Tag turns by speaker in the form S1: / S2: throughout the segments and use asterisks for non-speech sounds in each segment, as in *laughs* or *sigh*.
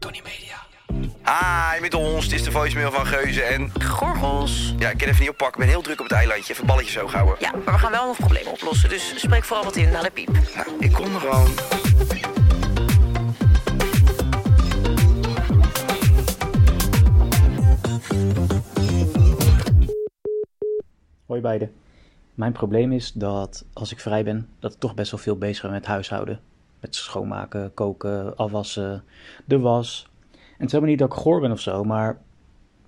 S1: Tony Media.
S2: Hi, met ons. Dit is de voicemail van Geuze en...
S3: Gorgels.
S2: Ja, ik kan even niet oppakken. Ik ben heel druk op het eilandje. Even balletjes hoog houden.
S3: Ja, maar we gaan wel nog problemen oplossen. Dus spreek vooral wat in naar de piep.
S2: Nou, ik kom er gewoon.
S1: Hoi beiden. Mijn probleem is dat als ik vrij ben, dat ik toch best wel veel bezig ben met huishouden. Met schoonmaken, koken, afwassen, de was. En het is helemaal niet dat ik goor ben of zo, maar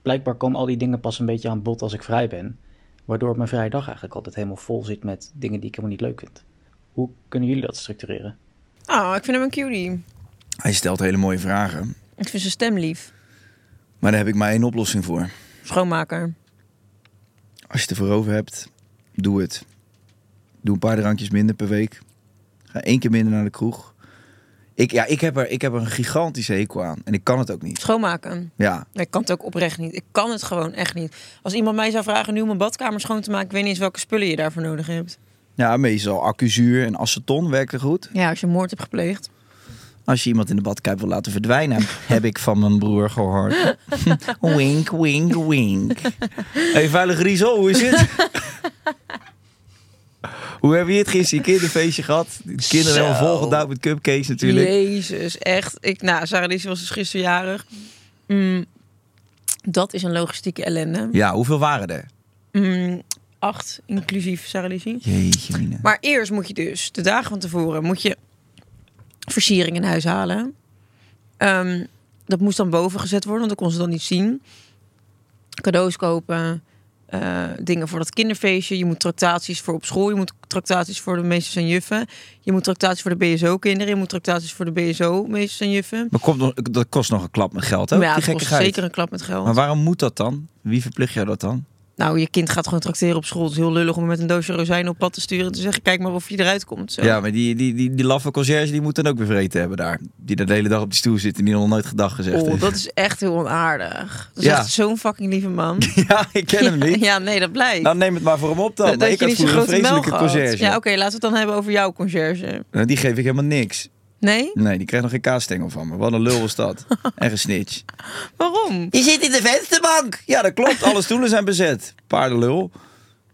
S1: blijkbaar komen al die dingen pas een beetje aan bod als ik vrij ben. Waardoor mijn vrije dag eigenlijk altijd helemaal vol zit met dingen die ik helemaal niet leuk vind. Hoe kunnen jullie dat structureren?
S4: Ah, ik vind hem een cutie.
S5: Hij stelt hele mooie vragen,
S4: Ik vind zijn stem lief.
S5: maar daar heb ik maar één oplossing voor.
S4: Schoonmaker.
S5: Als je het ervoor over hebt, doe het. Doe een paar drankjes minder per week. Ga één keer minder naar de kroeg. Ik, ja, ik, heb er, ik heb er een gigantische hekel aan en ik kan het ook niet.
S4: Schoonmaken.
S5: Ja,
S4: Nee, Ik kan het ook oprecht niet. Ik kan het gewoon echt niet. Als iemand mij zou vragen nu om mijn badkamer schoon te maken, ik weet niet eens welke spullen je daarvoor nodig hebt.
S5: ja meestal accuzuur en aceton werken goed.
S4: Ja, als je een moord hebt gepleegd.
S5: Als je iemand in de badkuip wil laten verdwijnen, *laughs* heb ik van mijn broer gehoord. *laughs* wink, wink, wink. hey, vuile griezel, hoe is het? *laughs* hoe heb je het gisteren? Je kinderfeestje gehad? De kinderen
S4: Zo.
S5: helemaal volgedouwd met cupcakes natuurlijk.
S4: Jezus, echt. Ik, nou, Sarah Lizzie was dus gisterjarig. dat is een logistieke ellende.
S5: Ja, hoeveel waren er?
S4: Mm, acht, inclusief Sarah Lizzie.
S5: Jeetje, Mina.
S4: Maar eerst moet je dus, de dagen van tevoren, moet je versiering in huis halen. Ehm, dat moest dan boven gezet worden, want dat kon ze dan niet zien. Cadeaus kopen, eh, dingen voor dat kinderfeestje. Je moet tractaties voor op school, je moet tractaties voor de meesters en juffen. Je moet tractaties voor de BSO-kinderen, je moet tractaties voor de BSO-meesters en juffen.
S5: Maar komt nog, dat kost nog een klap met geld, hè?
S4: ja,
S5: die
S4: het kost
S5: gekkigheid.
S4: zeker een klap met geld.
S5: Maar waarom moet dat dan? Wie verplicht jou dat dan?
S4: Nou, je kind gaat gewoon tracteren op school. Het is heel lullig om met een doosje rozijnen op pad te sturen. en Te zeggen, kijk maar of je eruit komt. Zo.
S5: Ja, maar die, die, die, die laffe conciërge die moet dan ook weer vreten hebben daar. Die daar de hele dag op die stoel zit en die nog nooit gedag gezegd
S4: Oh,
S5: heeft.
S4: dat is echt heel onaardig. Dat is
S5: Ja.
S4: echt zo'n fucking lieve
S5: *laughs*
S4: man.
S5: *laughs* Ja, ik ken hem niet.
S4: *laughs* Ja, nee, dat blijkt.
S5: Nou, neem het maar voor hem op dan.
S4: dat
S5: Maar ik
S4: dat
S5: had
S4: je niet zo'n
S5: vroeger
S4: grote
S5: een
S4: melk
S5: vreselijke
S4: had.
S5: conciërge.
S4: Ja, oké, laten we het dan hebben over jouw conciërge.
S5: Nou, Die geef ik helemaal niks.
S4: Nee?
S5: Nee, die krijgt nog geen kaasstengel van me. Wat een lul was
S4: *laughs*
S5: dat. en een snitch.
S4: Waarom?
S5: Je zit in de vensterbank. Ja, dat klopt. Alle stoelen zijn bezet. Paardenlul.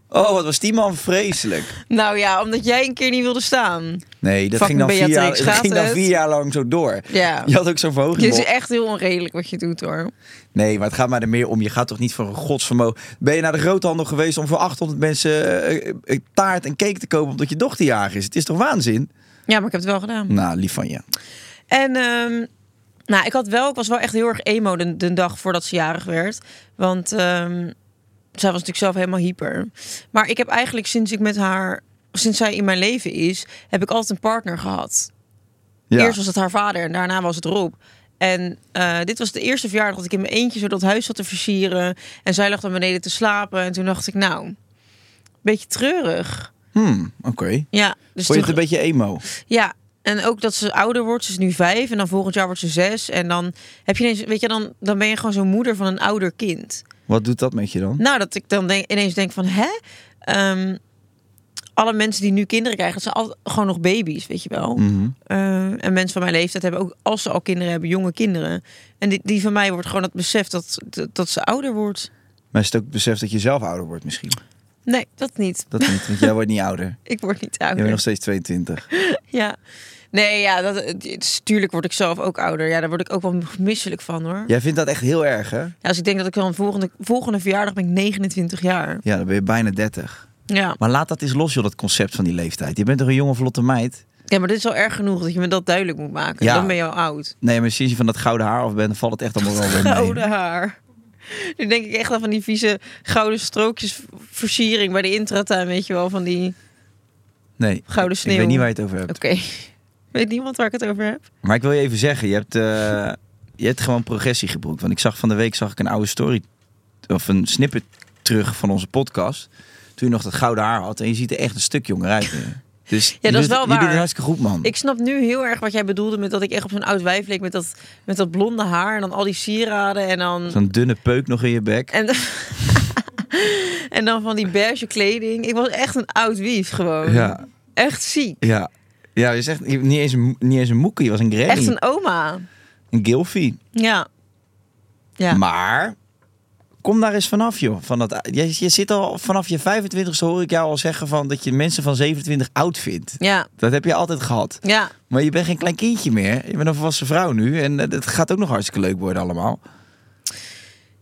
S5: Oh, wat was die man vreselijk.
S4: Nou ja, omdat jij een keer niet wilde staan.
S5: Nee, dat ging
S4: Fucking
S5: dan, vier jaar,
S4: Beatrix,
S5: dat
S4: gaat
S5: ging dan
S4: het?
S5: vier jaar lang zo door.
S4: Ja.
S5: Je had ook zo'n verhoging.
S4: Dit is
S5: op.
S4: echt heel onredelijk wat je doet hoor.
S5: Nee, maar het gaat mij er meer om. Je gaat toch niet voor een godsvermogen. Ben je naar de groothandel geweest om voor 800 mensen eh, eh, taart en cake te kopen omdat je dochter jarig is? Het is toch waanzin?
S4: Ja, maar ik heb het wel gedaan.
S5: Nou, lief van je.
S4: En ehm, nou, ik had wel, ik was wel echt heel erg emo de, de dag voordat ze jarig werd. Want ehm, zij was natuurlijk zelf helemaal hyper. Maar ik heb eigenlijk sinds ik met haar, sinds zij in mijn leven is, heb ik altijd een partner gehad.
S5: Ja.
S4: Eerst was het haar vader en daarna was het Rob. En eh, dit was de eerste verjaardag dat ik in mijn eentje zo dat huis zat te versieren. En zij lag dan beneden te slapen. En toen dacht ik, nou, beetje treurig.
S5: Hmm, Oké.
S4: Ja,
S5: Vond
S4: dus
S5: je
S4: toen,
S5: het een beetje emo?
S4: ja, en ook dat ze ouder wordt. Ze is nu vijf en dan volgend jaar wordt ze zes. En dan heb je ineens, weet je, dan, dan ben je gewoon zo'n moeder van een ouder kind.
S5: Wat doet dat met je dan?
S4: Nou, dat ik dan denk, ineens denk van, hè? Ehm, alle mensen die nu kinderen krijgen, dat zijn altijd gewoon nog baby's, weet je wel. Eh, en mensen van mijn leeftijd hebben ook, als ze al kinderen hebben, jonge kinderen. En die, die van mij wordt gewoon het besef dat, dat, dat ze ouder wordt.
S5: Maar is het ook het besef dat je zelf ouder wordt misschien?
S4: Nee, dat niet.
S5: Dat niet, want jij wordt niet ouder.
S4: Ik word niet
S5: Jij bent
S4: ouder.
S5: nog steeds 22.
S4: Ja. Nee, ja, dat, het is- tuurlijk word ik zelf ook ouder. Ja, daar word ik ook wel misselijk van hoor.
S5: Jij vindt dat echt heel erg, hè?
S4: Ja, als ik denk dat ik dan volgende, volgende verjaardag ben ik 29 jaar.
S5: Ja, dan ben je bijna 30.
S4: Ja.
S5: Maar laat dat eens los, joh, dat concept van die leeftijd. Je bent toch een jonge, vlotte meid?
S4: ja, maar dit is al erg genoeg dat je me dat duidelijk moet maken.
S5: Ja.
S4: Dan ben je al oud.
S5: Nee, maar sinds je van dat gouden haar af bent, dan valt het echt allemaal wel
S4: *laughs*
S5: weer mee.
S4: Gouden haar. Nu denk ik echt aan van die vieze gouden strookjes versiering bij de intratuin, weet je wel, van die...
S5: Nee,
S4: Gouden
S5: ik-
S4: sneeuw.
S5: Ik weet niet waar je het over hebt.
S4: Oké, weet niemand waar ik het over heb?
S5: Maar ik wil je even zeggen, je hebt, eh, je hebt gewoon progressie geboekt. Want ik zag van de week zag ik een oude story, of een snippet terug van onze podcast. Toen je nog dat gouden haar had. En je ziet er echt een stuk jonger uit. nu. Dus je
S4: dat
S5: doet
S4: is wel
S5: het- Je doet
S4: waar.
S5: het hartstikke goed, man.
S4: Ik snap nu heel erg wat jij bedoelde met dat ik echt op zo'n oud wijf leek met dat, met dat blonde haar en dan al die sieraden en dan...
S5: Zo'n dunne peuk nog in je bek.
S4: En, *laughs* en dan van die beige kleding. Ik was echt een oud wief gewoon.
S5: Ja,
S4: Echt ziek.
S5: ja. Ja, je zegt je- niet eens een, mo- niet eens een moekie, je was een granny.
S4: Echt een oma.
S5: een gilfie.
S4: Ja. Ja.
S5: Maar kom daar eens vanaf, joh. Van dat, je, je zit al vanaf je 25ste hoor ik jou al zeggen van dat je mensen van 27 oud vindt.
S4: ja.
S5: Dat heb je altijd gehad.
S4: Ja.
S5: Maar je bent geen klein kindje meer. Je bent een volwassen vrouw nu. En eh, het gaat ook nog hartstikke leuk worden allemaal.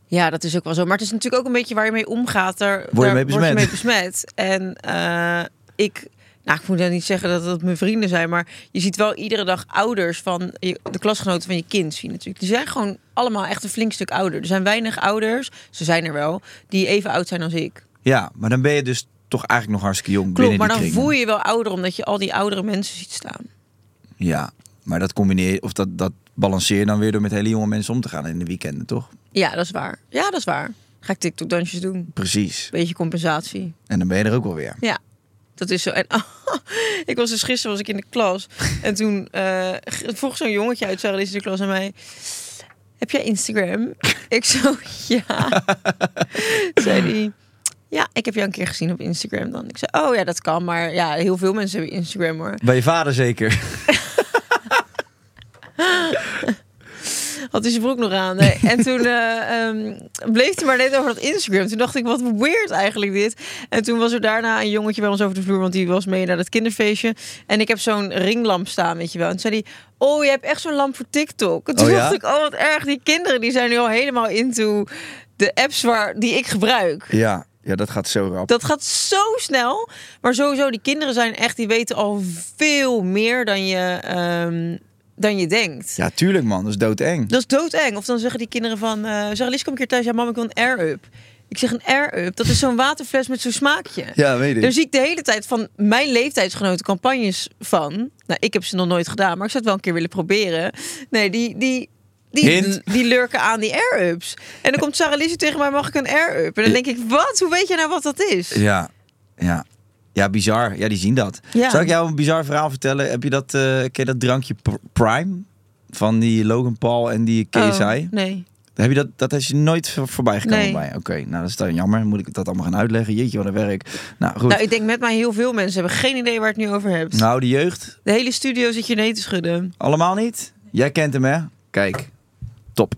S4: Ja, dat is ook wel zo. Maar het is natuurlijk ook een beetje waar je mee omgaat. Daar,
S5: je mee
S4: daar Word je
S5: besmet.
S4: mee besmet. En eh, ik... Nou, ik moet dan niet zeggen dat dat mijn vrienden zijn. Maar je ziet wel iedere dag ouders van je, de klasgenoten van je kind zien natuurlijk. Die zijn gewoon allemaal echt een flink stuk ouder. Er zijn weinig ouders, ze zijn er wel, die even oud zijn als ik.
S5: Ja, maar dan ben je dus toch eigenlijk nog hartstikke jong
S4: Klopt,
S5: binnen die
S4: maar dan
S5: kringen.
S4: voel je je wel ouder omdat je al die oudere mensen ziet staan.
S5: Ja, maar dat combineer je- of dat, dat balanceer je dan weer door met hele jonge mensen om te gaan in de weekenden, toch?
S4: Ja, dat is waar. Ja, dat is waar. Ga ik TikTok-dansjes doen.
S5: Precies.
S4: Beetje compensatie.
S5: En dan ben je er ook wel weer.
S4: Ja, dat is zo. En *laughs* ik was dus gisteren was ik in de klas. En toen eh, g- vroeg zo'n jongetje uit Sarah de klas aan mij... Heb jij Instagram? *laughs* ik zo, ja. *laughs* zei die Ja, ik heb jou een keer gezien op Instagram dan. Ik zei, oh ja, dat kan. Maar ja, heel veel mensen hebben Instagram hoor.
S5: Bij je vader zeker.
S4: had hij zijn broek nog aan. Nee. En toen eh, ehm, bleef hij maar net over dat Instagram. Toen dacht ik, wat weird eigenlijk dit. En toen was er daarna een jongetje bij ons over de vloer, want die was mee naar dat kinderfeestje. En ik heb zo'n ringlamp staan, weet je wel. En toen zei hij, oh, je hebt echt zo'n lamp voor TikTok. En toen
S5: Oh ja?
S4: dacht ik, oh, wat erg. Die kinderen die zijn nu al helemaal into de apps waar, die ik gebruik.
S5: Ja, ja dat gaat zo rap.
S4: Dat gaat zo snel. Maar sowieso, die kinderen zijn echt, die weten al veel meer dan je, ehm, dan je denkt.
S5: Ja, tuurlijk man, dat is doodeng.
S4: Dat is doodeng. Of dan zeggen die kinderen van... eh zeg, Lies, kom een keer thuis. Ja, mam, ik wil een air-up. Ik zeg een air-up. Dat is zo'n waterfles met zo'n smaakje.
S5: Ja, weet ik.
S4: Daar zie ik de hele tijd van mijn leeftijdsgenoten campagnes van. Nou, ik heb ze nog nooit gedaan, maar ik zou het wel een keer willen proberen. Nee, die... die die,
S5: Hint.
S4: die lurken aan die air-ups. En dan komt Sarah Lise tegen mij, mag ik een air-up? En dan denk ik, wat? Hoe weet je nou wat dat is?
S5: Ja, ja. Ja, bizar. Ja, die zien dat.
S4: Ja.
S5: Zal ik jou een bizar verhaal vertellen? Heb je dat, eh ken je dat drankje Pr- Prime? Van die Logan Paul en die KSI?
S4: Oh, nee.
S5: Heb je dat, dat is je nooit v- voorbij gekomen
S4: Nee.
S5: bij? Oké, nou dat is dan jammer. Dan Moet ik dat allemaal gaan uitleggen? Jeetje, wat een werk. Nou goed.
S4: Nou,
S5: Nou,
S4: ik denk met mij heel veel mensen hebben geen idee waar het nu over hebt.
S5: de jeugd,
S4: De hele studio zit je nee te schudden.
S5: allemaal niet? Jij kent hem hè? Kijk, top.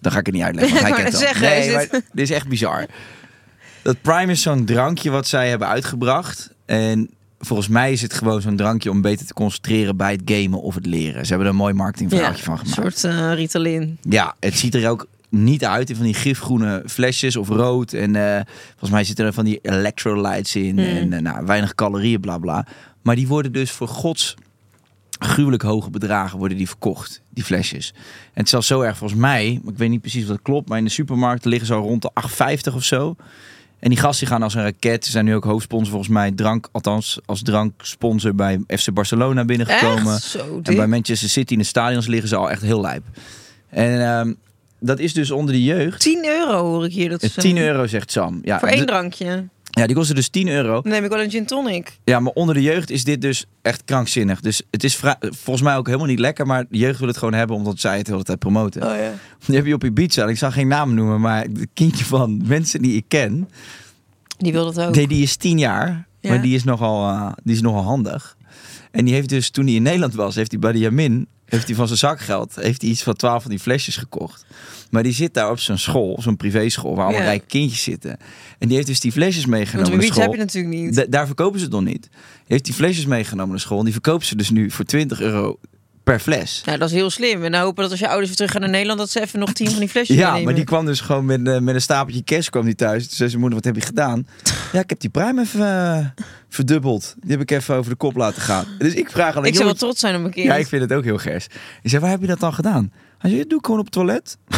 S5: Dan ga ik het niet uitleggen, want
S4: Ik
S5: hij
S4: wou
S5: kent
S4: net
S5: hem.
S4: zeggen,
S5: nee,
S4: is
S5: maar
S4: dit-
S5: dit is echt bizar. Dat Prime is zo'n drankje wat zij hebben uitgebracht. En volgens mij is het gewoon zo'n drankje om beter te concentreren bij het gamen of het leren. Ze hebben er een mooi marketingverhaaltje van
S4: een
S5: gemaakt.
S4: soort eh, Ritalin.
S5: Ja, het ziet er ook niet uit in van die gifgroene flesjes of rood. En eh, volgens mij zitten er van die electrolytes in en eh, nou, weinig calorieën, bla bla. Maar die worden dus voor gods gruwelijk hoge bedragen worden die verkocht, die flesjes. En het is zelfs zo erg volgens mij, maar ik weet niet precies of dat klopt, maar in de supermarkt liggen ze al rond de 8,50 of zo. En die gasten die gaan als een raket. Ze zijn nu ook hoofdsponsor volgens mij. Drank, althans als dranksponsor bij FC Barcelona binnengekomen.
S4: Echt? Zo
S5: En
S4: dik.
S5: bij Manchester City in de stadions liggen ze al echt heel lijp. En ehm, dat is dus onder de jeugd.
S4: 10 euro hoor ik hier. Dat
S5: Eh,
S4: is,
S5: 10 euro zegt Sam. Ja,
S4: Voor één
S5: de-
S4: drankje. Dan
S5: Ja, die kostte dus 10 euro.
S4: neem ik wel een gin tonic.
S5: Ja, maar onder de jeugd is dit dus echt krankzinnig. Dus het is vrij- volgens mij ook helemaal niet lekker. Maar de jeugd wil het gewoon hebben omdat zij het de hele tijd promoten.
S4: Oh, ja.
S5: Die heb je op Ibiza. en Ik zal geen naam noemen, maar het kindje van mensen die ik ken.
S4: Die wil dat ook.
S5: Nee, die is 10 jaar.
S4: Ja.
S5: Maar die is, nogal, eh, die is nogal handig. En die heeft dus toen hij in Nederland was, heeft hij bij de Jamin heeft hij van zijn zakgeld heeft hij iets van twaalf van die flesjes gekocht. Maar die zit daar op zo'n school, op zo'n privéschool, waar allemaal
S4: Ja.
S5: rijke kindjes zitten. En die heeft dus die flesjes meegenomen
S4: Want
S5: naar
S4: wiet
S5: school.
S4: heb je natuurlijk niet.
S5: Da- daar verkopen ze het nog niet. Heeft die flesjes meegenomen naar school en die verkopen ze dus nu voor 20 euro per fles.
S4: Nou, dat is heel slim. En dan hopen dat als je ouders weer terug gaan naar Nederland... dat ze even nog tien van die flesjes
S5: Ja,
S4: meenemen.
S5: maar die kwam dus gewoon met, eh, met een stapeltje cash kwam die thuis. Toen zei zijn moeder, wat heb je
S4: *laughs*
S5: gedaan? Ja, ik heb die prime even eh, verdubbeld. Die heb ik even over de kop laten gaan. Dus ik vraag aan een
S4: Ik zou wel
S5: jongetje-
S4: trots zijn op mijn kind.
S5: Ja, ik vind het ook heel gers. Ik zei, waar heb je dat dan gedaan? Hij zei, "Ja, doe ik gewoon op het toilet. *laughs*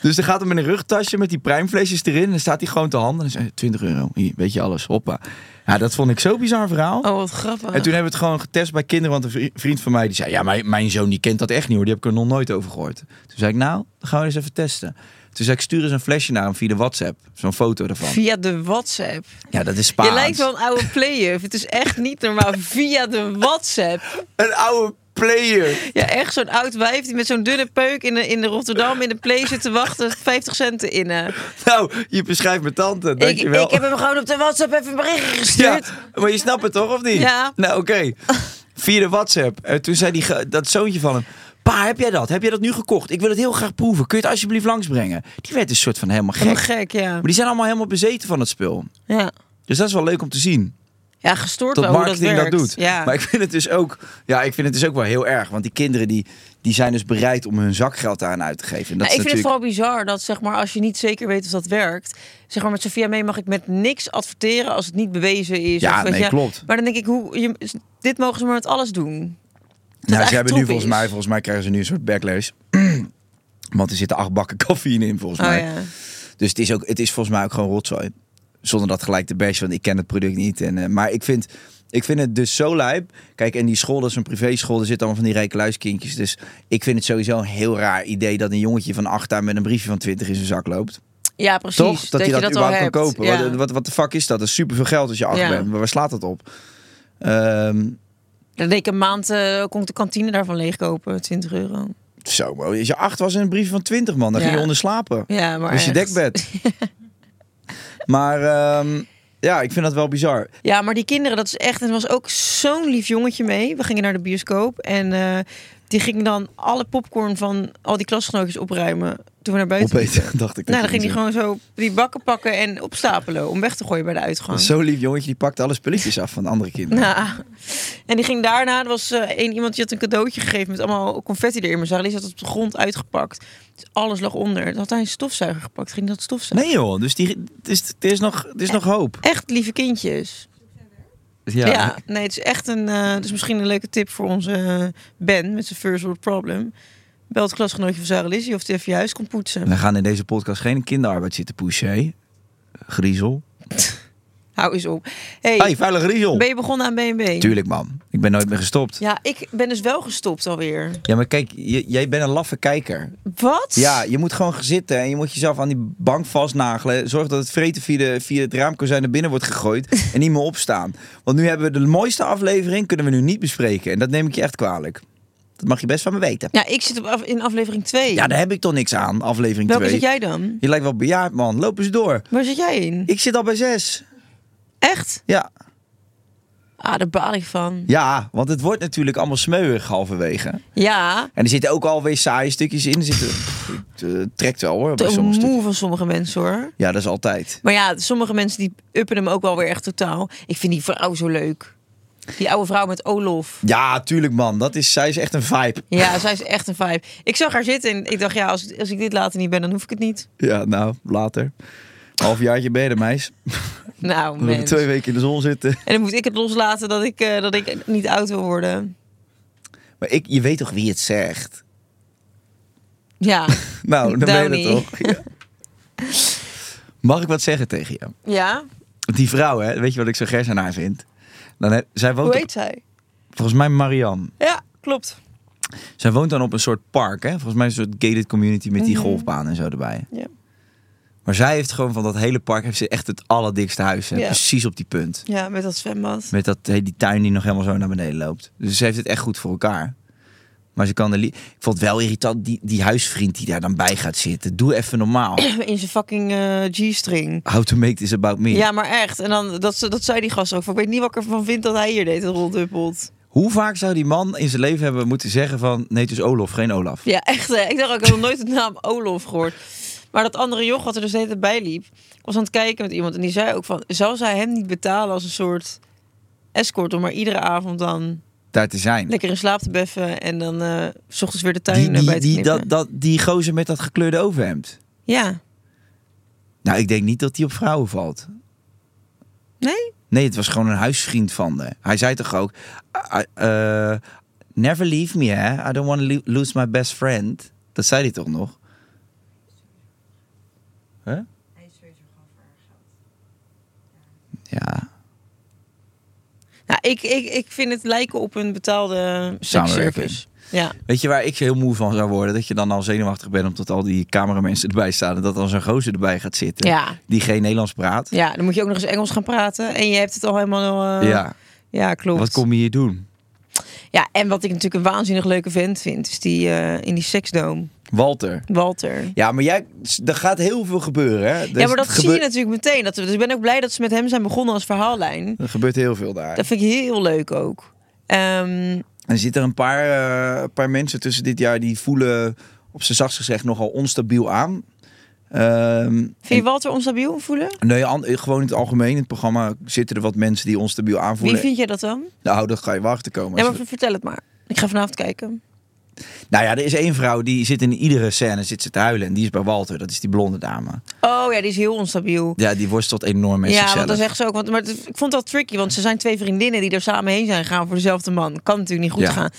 S5: dus dan gaat hij met een rugtasje met die pruimflesjes erin. En dan staat hij gewoon te handen. En dan zei, hij, 20 euro, hier, weet je alles, hoppa. Ja, dat vond ik zo'n bizar verhaal.
S4: Oh, wat grappig.
S5: En toen hebben we het gewoon getest bij kinderen. Want een vri- vriend van mij die zei: Ja, mijn, mijn zoon die kent dat echt niet hoor. Die heb ik er nog nooit over gehoord. Toen zei ik: Nou, dan gaan we eens even testen. Toen zei ik: Stuur eens een flesje naar hem via de WhatsApp. Zo'n foto ervan.
S4: Via de WhatsApp.
S5: Ja, dat is Spaans.
S4: Je lijkt wel een oude player. Het is echt niet normaal. Via de WhatsApp.
S5: een oude player.
S4: Ja, echt zo'n oud wijf die met zo'n dunne peuk in de, in de Rotterdam in de play zit te wachten. 50 centen in. hè.
S5: Nou, je beschrijft mijn tante.
S4: Ik,
S5: Dankjewel.
S4: ik heb hem gewoon op de WhatsApp even een berichtje gestuurd.
S5: *laughs* Ja, maar je snapt het toch, of niet?
S4: Ja.
S5: Nou, oké. Via de WhatsApp. En toen zei die, ge- dat zoontje van hem... Pa, heb jij dat? Heb jij dat nu gekocht? Ik wil het heel graag proeven. Kun je het alsjeblieft langsbrengen? Die werd een soort van helemaal gek.
S4: Helemaal gek, ja.
S5: Maar die zijn allemaal helemaal bezeten van het spul.
S4: Ja,
S5: Dus dat is wel leuk om te zien.
S4: ja gestoord
S5: Dat
S4: wel hoe dat
S5: marketing dat,
S4: werkt.
S5: doet.
S4: Ja.
S5: Maar ik vind het dus ook. Ja, ik vind het dus ook wel heel erg. Want die kinderen die, die zijn dus bereid om hun zakgeld daaraan uit te geven. En dat
S4: Nou,
S5: is
S4: ik vind het
S5: natuurlijk.
S4: vooral bizar dat zeg maar, als je niet zeker weet of dat werkt. Zeg maar, met Sofia mee mag ik met niks adverteren als het niet bewezen is.
S5: Ja,
S4: of, weet
S5: nee,
S4: je,
S5: klopt.
S4: Maar dan denk ik, hoe, je, dit mogen ze maar met alles doen.
S5: nou,
S4: echt
S5: ze hebben nu
S4: troep
S5: volgens
S4: is.
S5: mij, volgens mij krijgen ze nu een soort backlash. *clears throat* want er zitten acht bakken *laughs* cafeïne in, volgens
S4: Oh,
S5: mij.
S4: ja.
S5: Dus het is, ook, het is volgens mij ook gewoon rotzooi. Zonder dat gelijk te bashen, want ik ken het product niet. En, eh, maar ik vind, ik vind het dus zo lijp. Kijk, en die school, dat is een privéschool. Er zitten allemaal van die rijke luiskindjes. Dus ik vind het sowieso een heel raar idee... dat een jongetje van acht daar met een briefje van 20 in zijn zak loopt.
S4: ja, precies.
S5: Toch? Dat,
S4: je
S5: hij dat,
S4: dat al
S5: überhaupt
S4: hebt.
S5: kan kopen.
S4: Ja.
S5: Wat- Wat, wat de fuck is dat? Dat is superveel geld als je acht
S4: Ja.
S5: bent. Maar waar slaat dat op? Ehm,
S4: Dan deed ik een maand, eh kon ik de kantine daarvan leegkopen. 20 euro.
S5: zo, maar als je acht was en een briefje van 20 man. Dan
S4: Ja.
S5: ging je onder slapen.
S4: Ja, maar
S5: dus je
S4: echt.
S5: dekbed.
S4: *laughs*
S5: maar ehm, ja, ik vind dat wel bizar.
S4: Ja, maar die kinderen, dat is echt. En er was ook zo'n lief jongetje mee. We gingen naar de bioscoop en eh, die ging dan alle popcorn van al die klasgenootjes opruimen toen we naar buiten
S5: Opeten, *laughs*
S4: liepen.
S5: dacht ik.
S4: Nou,
S5: dat je
S4: dan ging hij
S5: dat
S4: gewoon zo die bakken pakken en opstapelen om weg te gooien bij de uitgang.
S5: zei. Zo'n lief jongetje, die pakt alle spulletjes af van de andere kinderen.
S4: *laughs* Nou, en die ging daarna, er was eh, één iemand die had een cadeautje gegeven met allemaal confetti erin. Maar Zara, die zat op de grond uitgepakt. Dus alles lag onder. Dan had hij een stofzuiger gepakt, ging dat stofzuigen.
S5: Nee joh, dus die, het is, het is nog, het is nog hoop.
S4: Echt lieve kindjes. Ja. nee, het is echt een. eh dus misschien een leuke tip voor onze eh, Ben met zijn first world problem. Bel het klasgenootje van Sarah Lizzie of die even je huis komt poetsen.
S5: We gaan in deze podcast geen kinderarbeid zitten pushen, hè? Griezel.
S4: Hou eens op.
S5: Hé,
S4: Hey,
S5: hey, vuile griezel.
S4: ben je begonnen aan BNB?
S5: Tuurlijk man, ik ben nooit meer gestopt.
S4: Ja, ik ben dus wel gestopt alweer.
S5: Ja, maar kijk, je- jij bent een laffe kijker.
S4: Wat?
S5: Ja, je moet gewoon gaan zitten en je moet jezelf aan die bank vastnagelen. Zorg dat het vreten via, de, via het raamkozijn naar binnen wordt gegooid en niet meer opstaan. Want nu hebben we de mooiste aflevering, kunnen we nu niet bespreken. En dat neem ik je echt kwalijk. Dat mag je best van me weten.
S4: Ja, ik zit op af- in aflevering 2.
S5: Ja, daar heb ik toch niks aan, aflevering
S4: Welke
S5: 2.
S4: zit jij dan?
S5: Je lijkt wel bejaard, man. Loop eens door.
S4: Waar zit jij in?
S5: Ik zit al bij zes.
S4: Echt?
S5: Ja.
S4: Ah, daar baal ik van.
S5: ja, want het wordt natuurlijk allemaal smeuig halverwege.
S4: Ja,
S5: En er zitten ook alweer saaie stukjes in. Er zitten, Pff, het eh, trekt wel hoor, bij
S4: te
S5: sommige stukjes.
S4: moe van sommige mensen hoor.
S5: Ja, dat is altijd.
S4: Maar ja, sommige mensen die uppen hem ook wel weer echt totaal. Ik vind die vrouw zo leuk. Die oude vrouw met Olof.
S5: Ja, tuurlijk man. Dat is, zij is echt een vibe.
S4: Ja, zij is echt een vibe. Ik zag haar zitten en ik dacht, ja, als, als ik dit later niet ben, dan hoef ik het niet.
S5: Ja, nou, later. Halfjaartje ben je er, meis.
S4: Nou,
S5: We hebben
S4: mens.
S5: twee weken in de zon zitten.
S4: En dan moet ik het loslaten dat ik, eh, dat ik niet oud wil worden.
S5: Maar ik, je weet toch wie het zegt?
S4: Ja,
S5: Nou, dan ben je
S4: Downey.
S5: het toch. Ja. Mag ik wat zeggen tegen jou?
S4: ja.
S5: Die vrouw, hè, weet je wat ik zo gers aan haar vind? Dan, heb- zij woont
S4: Hoe
S5: op-
S4: heet zij?
S5: volgens mij Marianne.
S4: Ja, klopt.
S5: Zij woont dan op een soort park, hè? Volgens mij een soort gated community met
S4: Mhm.
S5: die golfbaan en zo erbij.
S4: Ja.
S5: Maar zij heeft gewoon van dat hele park heeft ze echt het allerdikste huis. Hè?
S4: Ja.
S5: Precies op die punt.
S4: Ja, met dat zwembad. *clears throat*
S5: Met dat, die tuin die nog helemaal zo naar beneden loopt. Dus ze heeft het echt goed voor elkaar. Maar ze kan er... li- Ik vond het wel irritant, die, die huisvriend die daar dan bij gaat zitten. Doe even normaal. *clears throat*
S4: In zijn fucking eh, G-string.
S5: How to make this about me.
S4: Ja, maar echt. En dan, dat, ze- dat zei die gast ook. van, Ik weet niet wat ik ervan vind dat hij hier deed, dat roldubbelt.
S5: Hoe vaak zou die man in zijn leven hebben moeten zeggen van... Nee, het is Olof, geen Olaf.
S4: Ja, echt. Hè. Ik dacht ook, ik heb nog nooit de naam Olof gehoord. Maar dat andere joch wat er dus de hele tijd bij liep... Ik was aan het kijken met iemand en die zei ook van... Zou zij hem niet betalen als een soort escort... om maar iedere avond dan
S5: Daar te zijn.
S4: lekker in slaap te beffen... en dan eh, s ochtends weer de tuin
S5: Die,
S4: eh, bij
S5: die,
S4: te
S5: die,
S4: knippen?
S5: dat, dat, die gozer met dat gekleurde overhemd.
S4: Ja.
S5: Nou, ik denk niet dat die op vrouwen valt.
S4: Nee?
S5: Nee, het was gewoon een huisvriend van haar. Hij zei toch ook... I- eh, never leave me, hè. I don't want to lose my best friend. Dat zei hij toch nog? Huh? Ja,
S4: Nou, ik, ik, ik vind het lijken op een betaalde
S5: Samenwerking.
S4: seksservice. Ja.
S5: Weet je waar ik heel moe van zou worden? Dat je dan al zenuwachtig bent omdat al die cameramensen erbij staan. En dat dan zo'n gozer erbij gaat zitten.
S4: Ja.
S5: Die geen Nederlands praat.
S4: ja, dan moet je ook nog eens Engels gaan praten. En je hebt het al helemaal... eh,
S5: Ja.
S4: ja, klopt.
S5: Wat kom je hier doen?
S4: Ja, en wat ik natuurlijk een waanzinnig leuke vent vind... is die eh, in die seksdoom,
S5: Walter.
S4: Walter.
S5: Ja, maar jij, er gaat heel veel gebeuren, hè? Dus Er
S4: ja,
S5: is-
S4: maar dat
S5: er
S4: zie je
S5: gebeurt-
S4: natuurlijk meteen. Dat, we- dus ik ben ook blij dat ze met hem zijn begonnen als verhaallijn.
S5: Er gebeurt heel veel daar.
S4: Dat vind ik heel leuk ook. Ehm,
S5: En er zitten een paar, eh, paar mensen tussen dit jaar die voelen, op zijn zachtst gezegd, nogal onstabiel aan. Ehm
S4: vind je Walter onstabiel voelen?
S5: nee, an- gewoon in het algemeen, in het programma zitten er wat mensen die onstabiel aanvoelen.
S4: Wie vind jij dat dan?
S5: Nou, dat ga je wachten komen.
S4: Nee,
S5: Als
S4: maar
S5: we-
S4: vertel het maar. Ik ga vanavond kijken.
S5: Nou ja, er is één vrouw die zit in iedere scène zit ze te huilen. En die is bij Walter, dat is die blonde dame.
S4: Oh ja, die is heel onstabiel.
S5: Ja, die worstelt enorm met
S4: Ja,
S5: zichzelf.
S4: want dan zegt ze ook. Want, maar het- ik vond dat tricky, want ze zijn twee vriendinnen die er samen heen zijn gegaan voor dezelfde man. Kan natuurlijk niet goed
S5: Ja.
S4: gaan.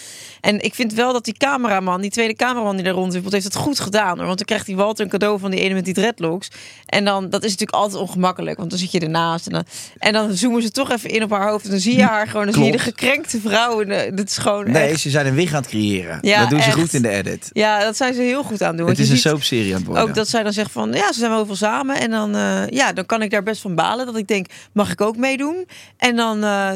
S4: En ik vind wel dat die cameraman, die tweede cameraman die daar rondwippelt, heeft het goed gedaan hoor. Want dan krijgt die Walter een cadeau van die ene met die dreadlocks. En dan, dat is natuurlijk altijd ongemakkelijk, want dan zit je ernaast. En dan, en dan zoomen ze toch even in op haar hoofd. En dan zie je haar gewoon, dan zie je de
S5: Klopt.
S4: gekrenkte vrouw. En eh, dat is gewoon.
S5: Nee,
S4: echt-
S5: ze zijn een wig aan het creëren.
S4: Ja,
S5: dat doen ze
S4: echt.
S5: goed in de edit.
S4: ja, dat zijn ze heel goed aan het doen.
S5: Het
S4: want
S5: is
S4: je
S5: een
S4: ziet-
S5: soapserie aan het worden.
S4: ook dat zij dan zegt van ja, ze zijn wel veel samen. En dan, eh, ja, dan kan ik daar best van balen. Dat ik denk, mag ik ook meedoen? En dan, eh,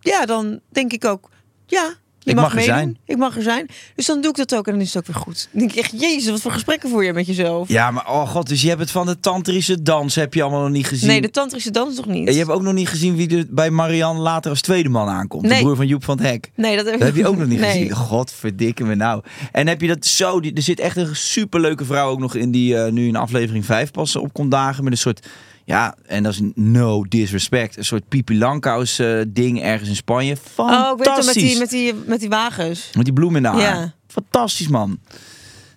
S4: ja, dan denk ik ook, ja, je
S5: Ik
S4: mag,
S5: mag er
S4: meedoen.
S5: zijn.
S4: Ik mag er zijn. Dus dan doe ik dat ook en dan is het ook weer goed. Dan denk ik echt, jezus, wat voor gesprekken voer je met jezelf?
S5: Ja, maar oh god, dus je hebt het van de tantrische dans heb je allemaal nog niet gezien.
S4: nee, de tantrische dans nog niet.
S5: En je hebt ook nog niet gezien wie er bij Marianne later als tweede man aankomt. De
S4: Nee.
S5: broer van Joep van het Hek.
S4: Nee, dat heb, ik
S5: Dat heb je ook nog niet
S4: *laughs* nee.
S5: gezien. Godverdikke me nou. En heb je dat zo... Die, er zit echt een superleuke vrouw ook nog in die eh, nu in aflevering 5 pas op komt dagen. Met een soort... Ja, en dat is no disrespect. Een soort Pipi Langkous eh, ding ergens in Spanje. Fantastisch.
S4: Oh, ik weet het met die, met, die, met die wagens.
S5: Met die bloem in de haar.
S4: Ja.
S5: Fantastisch, man.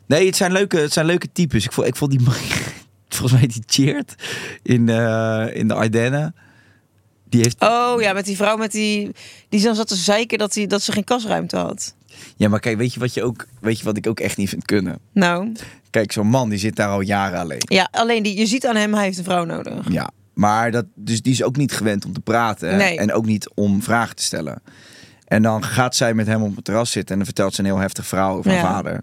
S5: Nee, het zijn leuke, het zijn leuke types. Ik vond, ik vond die... man- *laughs* Volgens mij die cheert in, eh, in de Ardennen. Die heeft...
S4: Oh ja, met die vrouw met die, die dan zat te zeiken dat, die, dat ze geen kasruimte had.
S5: Ja, maar kijk, weet je, wat je ook, weet je wat ik ook echt niet vind kunnen?
S4: Nou,
S5: Kijk, zo'n man die zit daar al jaren alleen.
S4: ja, alleen die, je ziet aan hem, hij heeft een vrouw nodig.
S5: Ja. Maar dat, dus die is ook niet gewend om te praten. hè?
S4: Nee.
S5: En ook niet om vragen te stellen. En dan gaat zij met hem op het terras zitten. En dan vertelt ze een heel heftig verhaal over haar
S4: Ja.
S5: vader.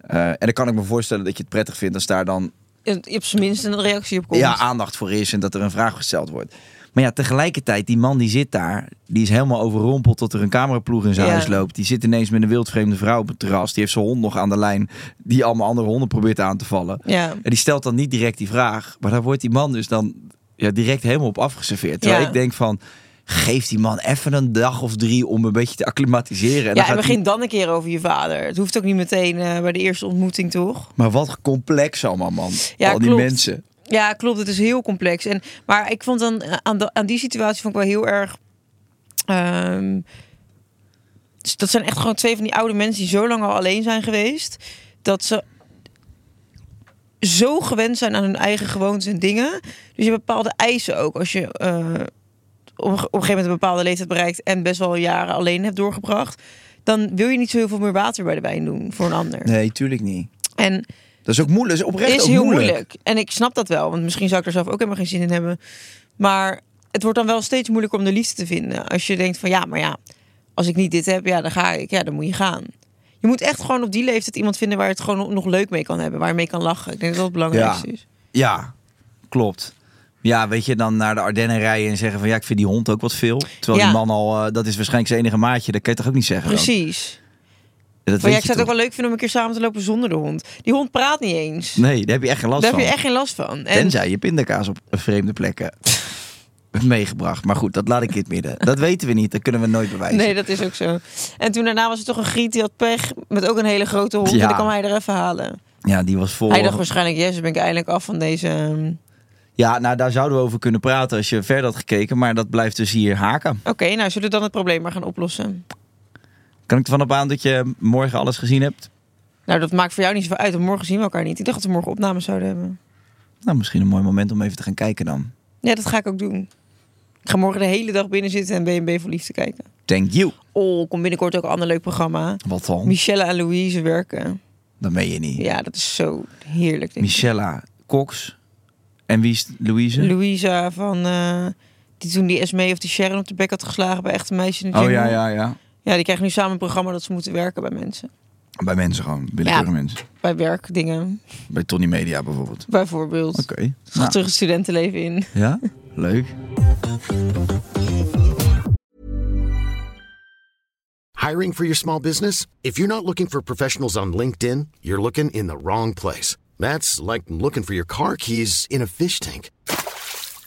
S5: Eh, en dan kan ik me voorstellen dat je het prettig vindt als daar dan
S4: En op zijn minst een reactie op komt.
S5: ja, aandacht voor is. En dat er een vraag gesteld wordt. Maar ja, tegelijkertijd, die man die zit daar. Die is helemaal overrompeld tot er een cameraploeg in zijn
S4: Ja.
S5: huis loopt. Die zit ineens met een wildvreemde vrouw op het terras. Die heeft zijn hond nog aan de lijn. Die allemaal andere honden probeert aan te vallen.
S4: Ja.
S5: En die stelt dan niet direct die vraag. Maar daar wordt die man dus dan ja, direct helemaal op afgeserveerd. Terwijl
S4: Ja.
S5: ik denk van, geef die man even een dag of drie om een beetje te acclimatiseren. En
S4: ja,
S5: dan
S4: en
S5: gaat
S4: begin
S5: die-
S4: dan een keer over je vader. Het hoeft ook niet meteen eh, bij de eerste ontmoeting, toch?
S5: Maar wat complex allemaal, man.
S4: Ja,
S5: Al die
S4: klopt.
S5: mensen.
S4: Ja, klopt. Het is heel complex. En, maar ik vond dan eh, aan, de- aan die situatie vond ik wel heel erg. ehm, s- dat zijn echt gewoon twee van die oude mensen die zo lang al alleen zijn geweest. Dat ze zo gewend zijn aan hun eigen gewoontes en dingen. Dus je hebt bepaalde eisen ook. Als je eh, op, een ge- op een gegeven moment een bepaalde leeftijd bereikt en best wel jaren alleen hebt doorgebracht. Dan wil je niet zo heel veel meer water bij de wijn doen voor een ander.
S5: Nee, tuurlijk niet.
S4: En
S5: Dat is ook moeilijk. Dat is oprecht
S4: is
S5: ook
S4: heel
S5: moeilijk.
S4: moeilijk. En ik snap dat wel, want misschien zou ik er zelf ook helemaal geen zin in hebben. Maar het wordt dan wel steeds moeilijker om de liefde te vinden. Als je denkt van ja, maar ja, als ik niet dit heb, ja, dan ga ik. Ja, dan moet je gaan. Je moet echt gewoon op die leeftijd iemand vinden waar je het gewoon nog leuk mee kan hebben. Waar je mee kan lachen. Ik denk dat dat het belangrijkste is.
S5: Ja, klopt. Ja, weet je, dan naar de Ardennen rijden en zeggen van ja, ik vind die hond ook wat veel. Terwijl
S4: Ja.
S5: die man al, eh, dat is waarschijnlijk zijn enige maatje. Dat kan je toch ook niet zeggen? dan?
S4: Precies.
S5: Dat
S4: Maar
S5: weet
S4: ja,
S5: je
S4: ik zou het ook
S5: toch?
S4: wel leuk vinden om een keer samen te lopen zonder de hond. Die hond praat niet eens.
S5: Nee, daar heb je echt geen last
S4: Daar
S5: van.
S4: heb je echt geen last van. En
S5: Tenzij je pindakaas op vreemde plekken. meegebracht. Maar goed, dat laat ik in het midden. Dat weten we niet, dat kunnen we nooit bewijzen.
S4: *laughs* Nee, dat is ook zo. En toen daarna was er toch een griet die had pech met ook een hele grote hond.
S5: Ja.
S4: En dan kwam hij er even halen.
S5: Ja, die was vol.
S4: Hij dacht waarschijnlijk, yes, dan ben ik eindelijk af van deze... ehm,
S5: Ja, nou daar zouden we over kunnen praten als je verder had gekeken. Maar dat blijft dus hier haken.
S4: Oké, nou zullen we dan het probleem maar gaan oplossen.
S5: Kan ik ervan op aan dat je morgen alles gezien hebt?
S4: Nou, dat maakt voor jou niet zoveel uit. want morgen zien we elkaar niet. Ik dacht dat we morgen opnames zouden hebben.
S5: Nou, misschien een mooi moment om even te gaan kijken dan.
S4: Ja, dat ga ik ook doen. Ik ga morgen de hele dag binnen zitten en BNB voor Liefde kijken.
S5: Thank you.
S4: Oh, komt binnenkort ook een ander leuk programma.
S5: Wat dan?
S4: Michelle en Louise werken.
S5: Dat meen je niet.
S4: Ja, dat is zo heerlijk. denk ik.
S5: Michella Cox. En wie is Louise?
S4: Louisa van... eh, die toen die Esme of die Sharon op de bek had geslagen bij Echte Meisje in de
S5: oh
S4: Jungle.
S5: ja, ja, ja.
S4: Ja, die krijgen nu samen een programma dat ze moeten werken bij mensen.
S5: Bij mensen gewoon. Willekeurige mensen.
S4: Bij werkdingen,
S5: Bij Tony Media bijvoorbeeld.
S4: bijvoorbeeld.
S5: Oké.
S4: Ze gaan
S5: Nou,
S4: terug het studentenleven in.
S5: ja, leuk.
S6: Hiring for your small business? If you're not looking for professionals on LinkedIn, you're looking in the wrong place. That's like looking for your car keys in a fish tank.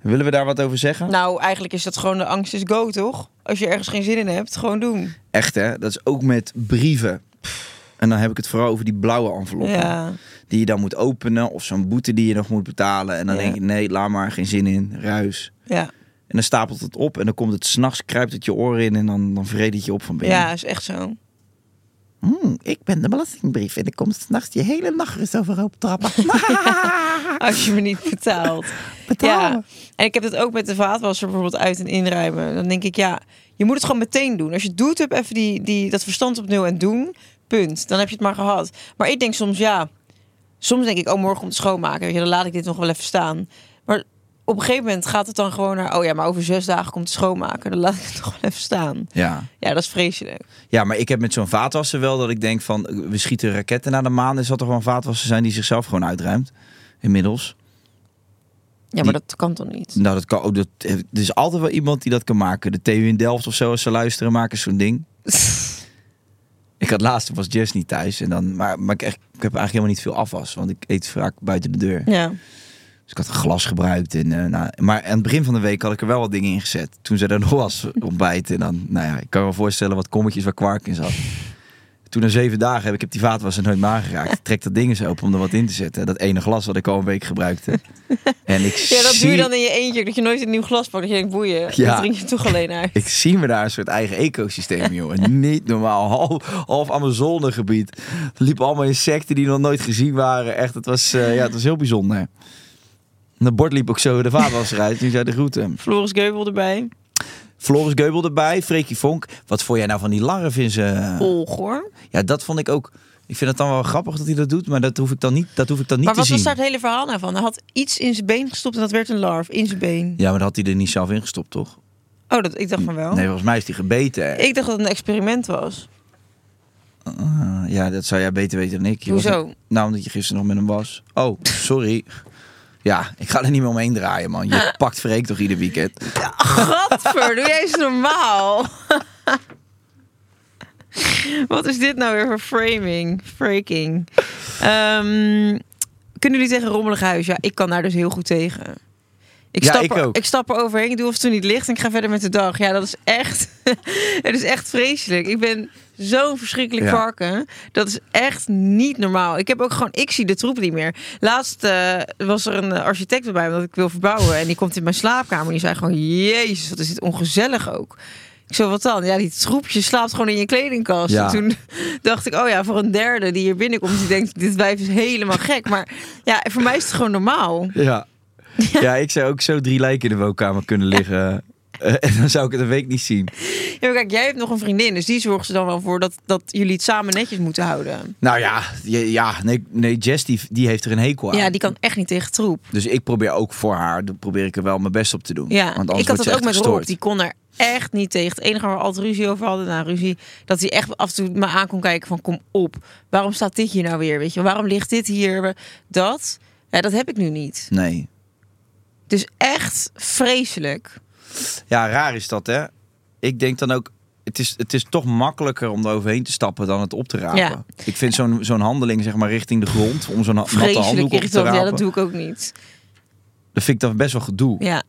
S5: Willen we daar wat over zeggen?
S4: Nou, eigenlijk is dat gewoon de angst is go, toch? Als je ergens geen zin in hebt, gewoon doen.
S5: Echt hè, dat is ook met brieven. En dan heb ik het vooral over die blauwe enveloppen.
S4: Ja.
S5: Die je dan moet openen of zo'n boete die je nog moet betalen. En dan
S4: Ja.
S5: denk je, nee, laat maar, geen zin in, ruis.
S4: Ja,
S5: En dan stapelt het op en dan komt het s'nachts, kruipt het je oren in en dan, dan vreet het je op van binnen.
S4: ja, is echt zo.
S5: Hmm, ik ben de belastingbrief en ik kom s'nachts je hele nacht overhoop trappen.
S4: *laughs* Als je me niet betaalt.
S5: Betalen.
S4: Ja. En ik heb dat ook met de vaatwasser bijvoorbeeld uit en inruimen. Dan denk ik, ja, je moet het gewoon meteen doen. Als je het doet, heb even die, die, dat verstand op nul en doen. Punt. Dan heb je het maar gehad. Maar ik denk soms, ja, soms denk ik, oh, morgen om te schoonmaken. Weet je, dan laat ik dit nog wel even staan. Maar op een gegeven moment gaat het dan gewoon naar, oh ja, maar over zes dagen komt het schoonmaken. Dan laat ik het *laughs* nog wel even staan.
S5: *laughs* ja.
S4: Ja, dat is vreselijk.
S5: ja, maar ik heb met zo'n vaatwasser wel dat ik denk van, we schieten raketten naar de maan. Er zal toch wel een vaatwasser zijn die zichzelf gewoon uitruimt, inmiddels.
S4: Ja,
S5: Die-
S4: maar dat kan toch niet?
S5: Nou, dat kan, oh, dat, er is altijd wel iemand die dat kan maken. De TU in Delft of zo, als ze luisteren, maken zo'n ding. ik had laatst, toen was Jess niet thuis. En dan, maar maar ik, echt, ik heb eigenlijk helemaal niet veel afwas, want ik eet vaak buiten de deur.
S4: *laughs* Ja.
S5: Dus ik had glas gebruikt. En, eh, nou, maar aan het begin van de week had ik er wel wat dingen in gezet. Toen ze er *laughs* nog was, ontbijt. En dan, nou ja, ik kan me wel voorstellen wat kommetjes waar kwark in zat. Toen na zeven dagen heb ik heb die vaatwasser nooit meer aangeraakt. Ik trek dat ding eens open om er wat in te zetten. Dat ene glas wat ik al een week gebruikte. En ik
S4: *laughs* Ja, dat
S5: zie...
S4: doe je dan in je eentje. Dat je nooit een nieuw glas pakt. Dat je denkt, boeien,
S5: Ja.
S4: dat drink je toch alleen uit.
S5: Ik zie me daar een soort eigen
S4: *laughs*
S5: ecosysteem, jongen. Niet normaal. Half, half Amazonegebied. Er liepen allemaal insecten die nog nooit gezien waren. Echt, het was, eh, ja, het was heel bijzonder. En dat bord liep ook zo de vaatwasser uit. Nu zei de groeten.
S4: Floris Geubel erbij.
S5: Floris Geubel erbij, Freekie Vonk. Wat vond jij nou van die larven in zijn... eh,
S4: Olg hoor.
S5: Ja, dat vond ik ook... Ik vind het dan wel grappig dat hij dat doet, maar dat hoef ik dan niet, dat hoef ik dan niet
S4: Maar
S5: te
S4: wat
S5: zien.
S4: was daar het hele verhaal nou van? Hij had iets in zijn been gestopt en dat werd een larf. In zijn been.
S5: Ja, maar dat had hij er niet zelf in gestopt, toch?
S4: Oh, dat, ik dacht van wel.
S5: Nee, volgens mij is hij gebeten.
S4: Ik dacht dat het een experiment was.
S5: Ah, Ja, dat zou jij beter weten dan ik. Je was
S4: Hoezo?
S5: er- nou, omdat je gisteren nog met hem was. Oh, sorry. Ja, ik ga er niet meer omheen draaien, man.
S4: *laughs*
S5: Je pakt Freek toch ieder weekend?
S4: Gadver, doe jij eens normaal. wat is dit nou weer voor framing? Freaking. Ehm, kunnen jullie tegen een rommelig huis? Ja, ik kan daar dus heel goed tegen. Ik,
S5: Ja,
S4: stap
S5: ik
S4: er,
S5: ook.
S4: ik stap er overheen, ik doe of het toen niet ligt en ik ga verder met de dag. Ja, dat is echt, *laughs* het is echt vreselijk. Ik ben zo'n verschrikkelijk
S5: Ja.
S4: varken. Dat is echt niet normaal. Ik heb ook gewoon, ik zie de troep niet meer. Laatst eh, was er een architect bij mij, omdat ik wil verbouwen. En die komt in mijn slaapkamer en die zei gewoon, jezus, wat is dit ongezellig ook. Ik zo, wat dan? Ja, die troepje slaapt gewoon in je kledingkast.
S5: Ja.
S4: En toen *laughs* dacht ik, oh ja, voor een derde die hier binnenkomt, die denkt, dit wijf is helemaal gek. Maar ja, voor mij is het gewoon normaal.
S5: Ja. Ja, ik zou ook zo drie lijken in de woonkamer kunnen liggen. Eh, en dan zou ik het een week niet zien.
S4: Ja, maar kijk, jij hebt nog een vriendin, dus die zorgt er dan wel voor dat, dat jullie het samen netjes moeten houden.
S5: Nou ja, ja, ja, nee, nee Jess die, die heeft er een hekel aan.
S4: Ja, die kan echt niet tegen troep.
S5: Dus ik probeer ook voor haar, dan probeer ik er wel mijn best op te doen.
S4: Ja,
S5: Want anders
S4: ik had
S5: wordt
S4: dat
S5: ze
S4: ook
S5: echt
S4: met Rob.
S5: gestoord.
S4: Die kon er echt niet tegen. Het enige waar we altijd ruzie over hadden, na ruzie, dat hij echt af en toe me aan kon kijken van kom op. Waarom staat dit hier nou weer, weet je? Waarom ligt dit hier? Dat, ja, dat heb ik nu niet.
S5: Nee.
S4: Dus echt vreselijk.
S5: Ja, raar is dat, hè? Ik denk dan ook, het is, het is toch makkelijker om er overheen te stappen dan het op te rapen.
S4: Ja.
S5: Ik vind zo'n zo'n handeling, zeg maar, richting de grond, om zo'n ha- natte
S4: Vreselijk
S5: handdoek op te
S4: irritant.
S5: rapen,
S4: Ja,
S5: dat,
S4: dat doe ik ook niet.
S5: vind ik dan best wel gedoe.
S4: Ja,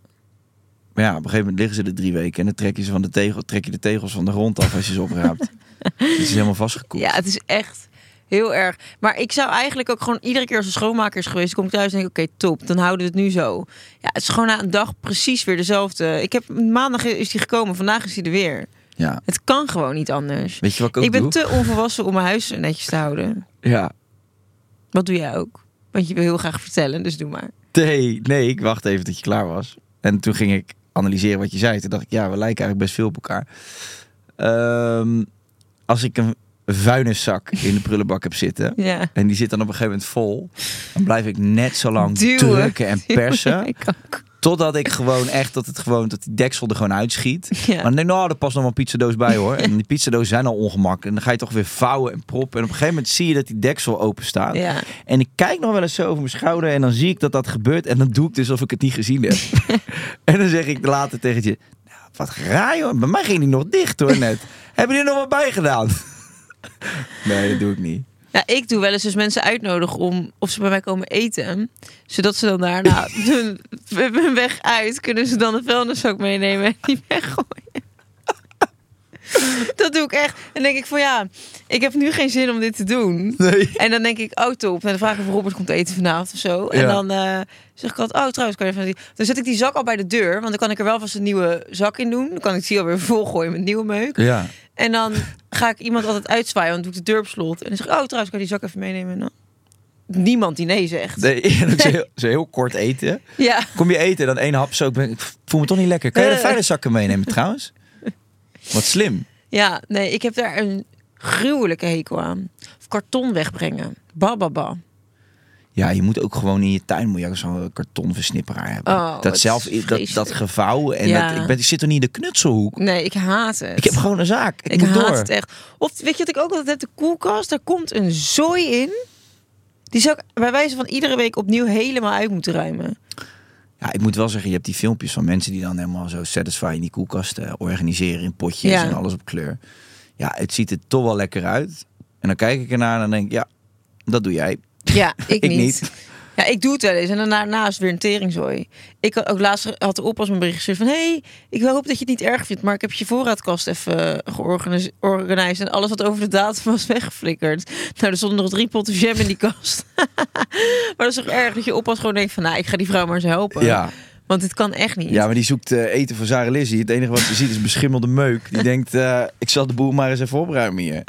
S5: Maar ja, op een gegeven moment liggen ze er drie weken en dan trek je, ze van de tegel, trek je de tegels van de grond af als je ze opraapt.
S4: *laughs*
S5: Het is helemaal vastgekoeld.
S4: ja, het is echt heel erg. Maar ik zou eigenlijk ook gewoon iedere keer als een schoonmaker is geweest, kom ik thuis en denk ik, oké, top, dan houden we het nu zo. Ja, het is gewoon na een dag precies weer dezelfde. Ik heb maandag is hij gekomen, vandaag is hij er weer.
S5: Ja.
S4: Het kan gewoon niet anders.
S5: Weet je wat ik ook
S4: ik ben
S5: doe?
S4: te onvolwassen om mijn huis netjes te houden.
S5: Ja.
S4: Wat doe jij ook? Want je wil heel graag vertellen, dus doe maar.
S5: Nee, nee, ik wacht even tot je klaar was. En toen ging ik analyseren wat je zei. Toen dacht ik, ja, we lijken eigenlijk best veel op elkaar. Ehm, als ik een vuilniszak in de prullenbak heb zitten...
S4: Ja.
S5: en die zit dan op een gegeven moment vol... dan blijf ik net zo lang
S4: *laughs* Duwen.
S5: drukken en persen...
S4: Ik ook.
S5: totdat ik gewoon echt, dat het gewoon, dat die deksel er gewoon uitschiet.
S4: *laughs* Ja.
S5: Maar dan denk ik, nou, er past nog wel een pizzadoos bij hoor.
S4: *laughs*
S5: En die pizzadoos zijn al ongemak. En dan ga je toch weer vouwen en proppen. En op een gegeven moment zie je dat die deksel open staat.
S4: Ja.
S5: En ik kijk nog wel eens zo over mijn schouder en dan zie ik dat dat gebeurt. En dan doe ik dus alsof ik het niet gezien
S4: *laughs*
S5: heb. *laughs* en dan zeg ik later tegen je, nou, wat raar hoor. Bij mij ging die nog dicht hoor net. *laughs* Hebben jullie er nog wat bij gedaan? *laughs* nee, dat doe ik niet.
S4: Nou, ik doe wel eens dus mensen uitnodigen om of ze bij mij komen eten. Zodat ze dan daarna *laughs* hun, hun weg uit kunnen ze dan een vuilniszak meenemen en die weggooien. *laughs* Dat doe ik echt. Dan denk ik van ja, ik heb nu geen zin om dit te doen.
S5: Nee.
S4: En dan denk ik, oh top. En dan vraag ik of Robert komt eten vanavond of zo. En
S5: Ja.
S4: dan eh, zeg ik altijd, oh trouwens, kan je even... die- Dan zet ik die zak al bij de deur. Want dan kan ik er wel vast een nieuwe zak in doen. Dan kan ik die alweer *laughs* volgooien met nieuwe meuk.
S5: Ja.
S4: En dan ga ik iemand altijd uitzwaaien, want dan doe ik de deur op slot. En dan zeg ik, oh trouwens, kan je die zak even meenemen? En dan... Niemand die nee zegt.
S5: *laughs* Nee, en ook zo heel, zo heel kort eten.
S4: Ja.
S5: Kom je eten, dan één hap zo. Ik, ben, ik voel me toch niet lekker. Kan je de
S4: Eh.
S5: vuilniszakken meenemen trouwens? Wat slim.
S4: ja, nee, ik heb daar een gruwelijke hekel aan. Of karton wegbrengen. Bababa.
S5: Ja, je moet ook gewoon in je tuin moet je ook zo'n kartonversnipperaar hebben.
S4: Oh, het
S5: dat
S4: is
S5: zelf, dat,
S4: vreselijk.
S5: dat gevouwen. En
S4: Ja.
S5: dat, ik, ben, ik zit toch niet in de knutselhoek?
S4: Nee, ik haat het.
S5: Ik heb gewoon een zaak. Ik,
S4: Ik
S5: moet
S4: haat
S5: door.
S4: het echt. Of weet je wat ik ook altijd heb? De koelkast, daar komt een zooi in. Die zou ik bij wijze van iedere week opnieuw helemaal uit moeten ruimen.
S5: Ja, ik moet wel zeggen, je hebt die filmpjes van mensen die dan helemaal zo satisfying die koelkasten eh, organiseren in potjes
S4: Ja.
S5: en alles op kleur. Ja, het ziet er toch wel lekker uit. En dan kijk ik ernaar en dan denk ik, ja, dat doe jij. *laughs*
S4: Ja, ik,
S5: Ik
S4: niet.
S5: niet.
S4: Ja, ik doe het wel eens. En dan daarnaast weer een teringzooi. Ik had ook laatst had de oppas mijn bericht gestuurd van... hey, ik hoop dat je het niet erg vindt... maar ik heb je voorraadkast even eh, georganiseerd... en alles wat over de datum was weggeflikkerd. *laughs* Nou, er stonden nog drie potten jam in die kast. *laughs* maar dat is toch erg dat je oppas gewoon denkt van... nou, ik ga die vrouw maar eens helpen.
S5: Ja.
S4: Want dit kan echt niet.
S5: Ja, maar die zoekt eh, eten voor Sarah Lizzie. Het enige wat ze ziet is beschimmelde meuk. Die denkt, eh, ik zal de boel maar eens even opruimen hier.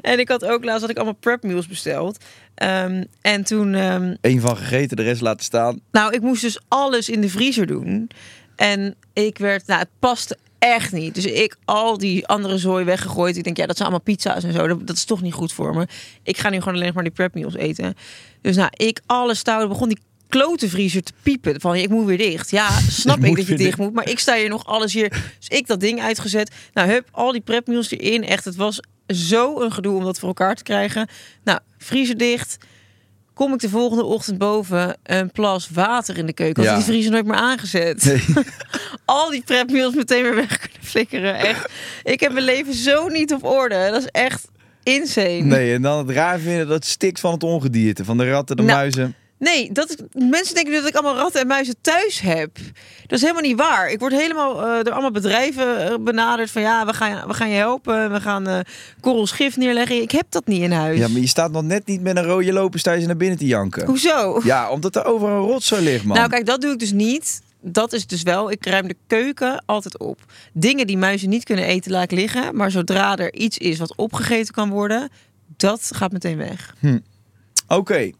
S4: En ik had ook laatst had ik allemaal prep meals besteld. Ehm, en toen... ehm,
S5: Eén van gegeten, de rest laten staan.
S4: Nou, ik moest dus alles in de vriezer doen. En ik werd, nou, het paste echt niet. Dus ik al die andere zooi weggegooid. Ik denk, ja, dat zijn allemaal pizza's en zo. Dat, dat is toch niet goed voor me. Ik ga nu gewoon alleen nog maar die prep meals eten. Dus nou, ik alles stouwde. Begon die klote vriezer te piepen. Van, ik moet weer dicht. Ja,
S5: *laughs*
S4: snap
S5: moet
S4: ik dat je
S5: weer
S4: dicht
S5: dicht.
S4: moet. Maar ik sta hier nog alles hier. Dus ik dat ding uitgezet. Nou, hup, al die prep meals erin. Echt, het was zo een gedoe om dat voor elkaar te krijgen. Nou, vriezer dicht kom ik de volgende ochtend boven een plas water in de keuken. Als
S5: Ja.
S4: die vriezer nooit meer aangezet. *laughs* Al die prepmeals meteen weer weg kunnen flikkeren. Echt. Ik heb mijn leven zo niet op orde. Dat is echt insane.
S5: Nee, en dan het raar vinden dat stikt van het ongedierte. Van de ratten, de
S4: Nou,
S5: muizen.
S4: Nee, dat is- mensen denken dat ik allemaal ratten en muizen thuis heb. Dat is helemaal niet waar. Ik word helemaal eh, door allemaal bedrijven eh, benaderd van ja, we gaan, we gaan je helpen. We gaan eh korrels gif neerleggen. Ik heb dat niet in huis.
S5: Ja, maar je staat nog net niet met een rode loper sta je ze naar binnen te janken.
S4: Hoezo?
S5: Ja, omdat er overal een rotzooi ligt, man.
S4: Nou, kijk, dat doe ik dus niet. Dat is dus wel, ik ruim de keuken altijd op. Dingen die muizen niet kunnen eten, laat ik liggen. Maar zodra er iets is wat opgegeten kan worden, dat gaat meteen weg.
S5: Oké.